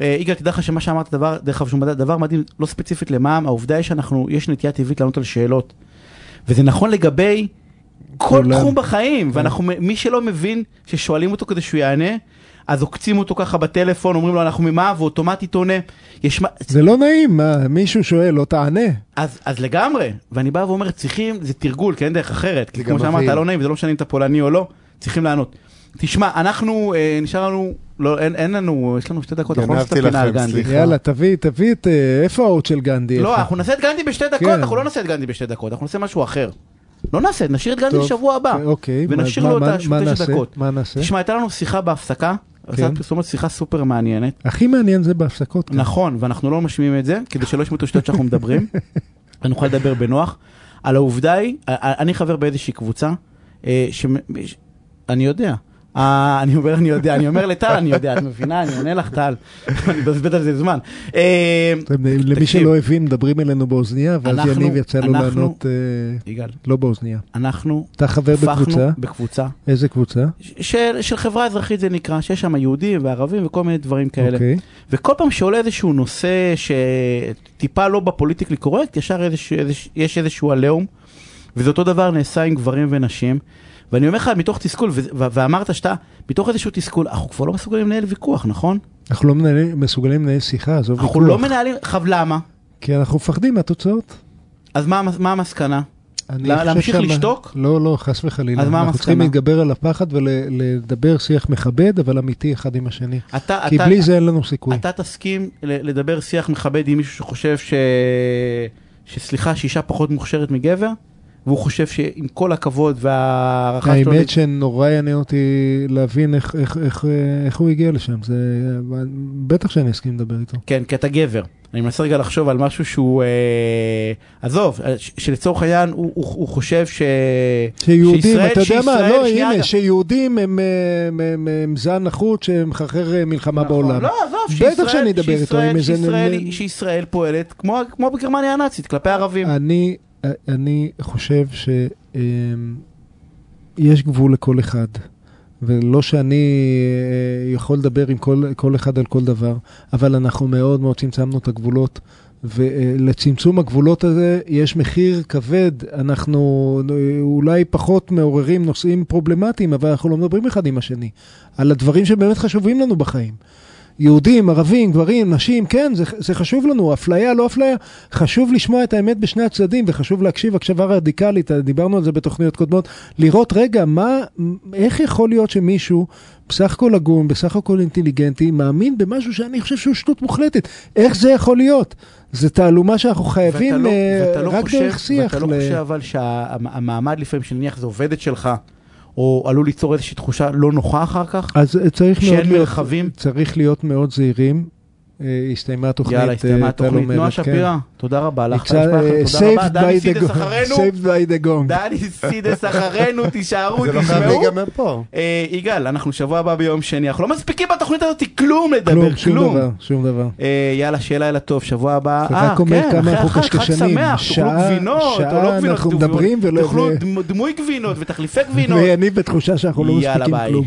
אה, יגאל, תדע לך שמה שאמרת, דבר, דרך אגב, שהוא מדע- דבר מדהים, לא ספציפית למע"מ, העובדה היא שאנחנו, יש נטייה טבעית לענות על שאלות. וזה נכון לגבי כל כולם. תחום בחיים, כן. ואנחנו, מי שלא מבין ששואלים אותו כדי שהוא יענה, אז עוקצים אותו ככה בטלפון, אומרים לו אנחנו ממע"מ, ואוטומטית עונה. יש מה, זה לא נעים, מה, מישהו שואל, לא תענה. אז, אז לגמרי, ואני בא ואומר צריכים, זה תרגול, כי אין דרך אחרת, כי זה כמו גם שאמרת, מבהיל. לא נעים, זה לא משנה אם אתה פולני או לא, צריכים לענות. תשמע, אנחנו, אה, נשאר לנו, לא, אין, אין לנו, יש לנו שתי דקות, אנחנו לא נעשה את גנבתי הפינה על לכם, גנדי. סליחה. יאללה, תביא, תביא את... אה, איפה האות של גנדי? לא, איפה? אנחנו נעשה את גנדי בשתי דקות, כן. אנחנו לא נעשה את גנדי בשתי דקות, אנחנו נעשה משהו אחר. לא נעשה, נשאיר את גנדי טוב, לשבוע הבא. אוקיי, מה- ונשאיר מה- לו את מה- מה השמונה נעשה? דקות. מה נעשה? תשמע, הייתה לנו שיחה בהפסקה, כן. הרצאת פרסומות, שיחה סופר מעניינת. הכי מעניין זה בהפסקות. כאן. נכון, ואנחנו לא משמיעים את זה, כדי שלא ישמעו את השטויות שאנחנו מדברים, ונוכל לדבר בנוח. על העובדה היא, א- א- אני חבר באיזושהי קבוצה, אה, שמ- ש... אני יודע. אה, אני אומר, אני יודע, אני אומר לטל, אני יודע, את מבינה, אני עונה לך טל, אני מבזבז על זה זמן. אה, אתם, אה, למי תקשיב. שלא הבין, מדברים אלינו באוזנייה, ואז אנחנו- יניב יצא לו אנחנו- לענות אה, יגאל, לא באוזנייה. אנחנו אתה חבר הפכנו בקבוצה? בקבוצה איזה קבוצה? ש- של, של חברה אזרחית זה נקרא, שיש שם יהודים וערבים וכל מיני דברים כאלה. אוקיי. וכל פעם שעולה איזשהו נושא שטיפה לא בפוליטיקלי קורקט, ישר איזשהו, איזשהו, יש איזשהו עליהום, וזה אותו דבר נעשה עם גברים ונשים. ואני אומר לך, מתוך תסכול, ו- ו- ואמרת שאתה, מתוך איזשהו תסכול, אנחנו כבר לא מסוגלים לנהל ויכוח, נכון? אנחנו לא מנהלים- מסוגלים לנהל שיחה, עזוב אנחנו לא ויכוח. מנהלים, עכשיו למה? כי אנחנו מפחדים מהתוצאות. אז מה, המס- מה המסקנה? אני לה- חושב להמשיך שהמה- לשתוק? לא, לא, חס וחלילה. אז מה אנחנו המסקנה? צריכים להתגבר על הפחד ולדבר שיח מכבד, אבל אמיתי אחד עם השני. אתה, כי אתה, בלי זה אין לנו סיכוי. אתה תסכים ל- לדבר שיח מכבד עם מישהו שחושב ש... שסליחה, שאישה פחות מוכשרת מגבר, והוא חושב שעם כל הכבוד וההערכה שלו... האמת שנורא יעניין אותי להבין איך- איך- איך אה, איך הוא הגיע לשם. זה... בטח שאני אסכים לדבר איתו. כן, כי אתה גבר. אני מנסה רגע לחשוב על משהו שהוא... אה, עזוב, אה, ש- שלצורך העניין הוא, הוא, הוא חושב ש... שיהודים, שישראל- אתה יודע מה, שישראל- לא, שנייה, הנה, רגע. שיהודים הם, אה, הם, הם, הם זן נחות שמחרחר אה, מלחמה נכון. בעולם. לא, עזוב, בטח שישראל- שאני אדבר איתו, שישראל- עם איזה- שישראל- שישראל פועלת כמו, כמו בגרמניה הנאצית, כלפי ערבים. אני, אני חושב שיש גבול לכל אחד, ולא שאני אה, יכול לדבר עם כל, כל אחד על כל דבר, אבל אנחנו מאוד מאוד צמצמנו את הגבולות. ולצמצום הגבולות הזה יש מחיר כבד, אנחנו אה, אולי פחות מעוררים נושאים פרובלמטיים, אבל אנחנו לא מדברים אחד עם השני, על הדברים שבאמת חשובים לנו בחיים. יהודים, ערבים, גברים, נשים, כן, זה, זה חשוב לנו, אפליה, לא אפליה, חשוב לשמוע את האמת בשני הצדדים וחשוב להקשיב הקשבה רדיקלית, דיברנו על זה בתוכניות קודמות, לראות רגע, מה, איך יכול להיות שמישהו בסך הכל הגון, בסך הכל אינטליגנטי, מאמין במשהו שאני חושב שהוא שטות מוחלטת, איך זה יכול להיות? זו תעלומה שאנחנו חייבים ואתה לא- אה, ואתה לא רק חושב- דרך שיח. ואתה לא ל- חושב אבל שהמעמד לפעמים של נניח זו עובדת שלך, או עלול ליצור איזושהי תחושה לא נוחה אחר כך? אז אה, צריך מאוד שאין להיות, מרחבים? צריך להיות מאוד זהירים. אה, הסתיימה התוכנית, יאללה, הסתיימה אה, טל התוכנית. אומרת, נועה כן. שפירא, תודה רבה לך. נקצר, אה, תודה רבה. saved דני by the סידס gong. אחרינו. saved by the gong. דני סידס אחרינו, תישארו, זה לא חייב תשמעו. להיגמר פה. אה, יגאל, אנחנו שבוע הבא ביום שני, אנחנו לא מספיקים בתוכנית הזאת כלום לדבר, כלום, שום כלום. דבר, שום דבר. אה, יאללה, שיהיה לילה טוב, שבוע הבא. זה אה, רק אומר כן, כמה אחרי אנחנו החג, חג קשקשנים. שמח, תאכלו שעה- גבינות, או שעה לא גבינות, אנחנו תאכלו- מדברים ולא- תאכלו ו- דמו- דמוי גבינות ותחליפי גבינות. ואני בתחושה שאנחנו לא יאללה, מספיקים ביי. כלום.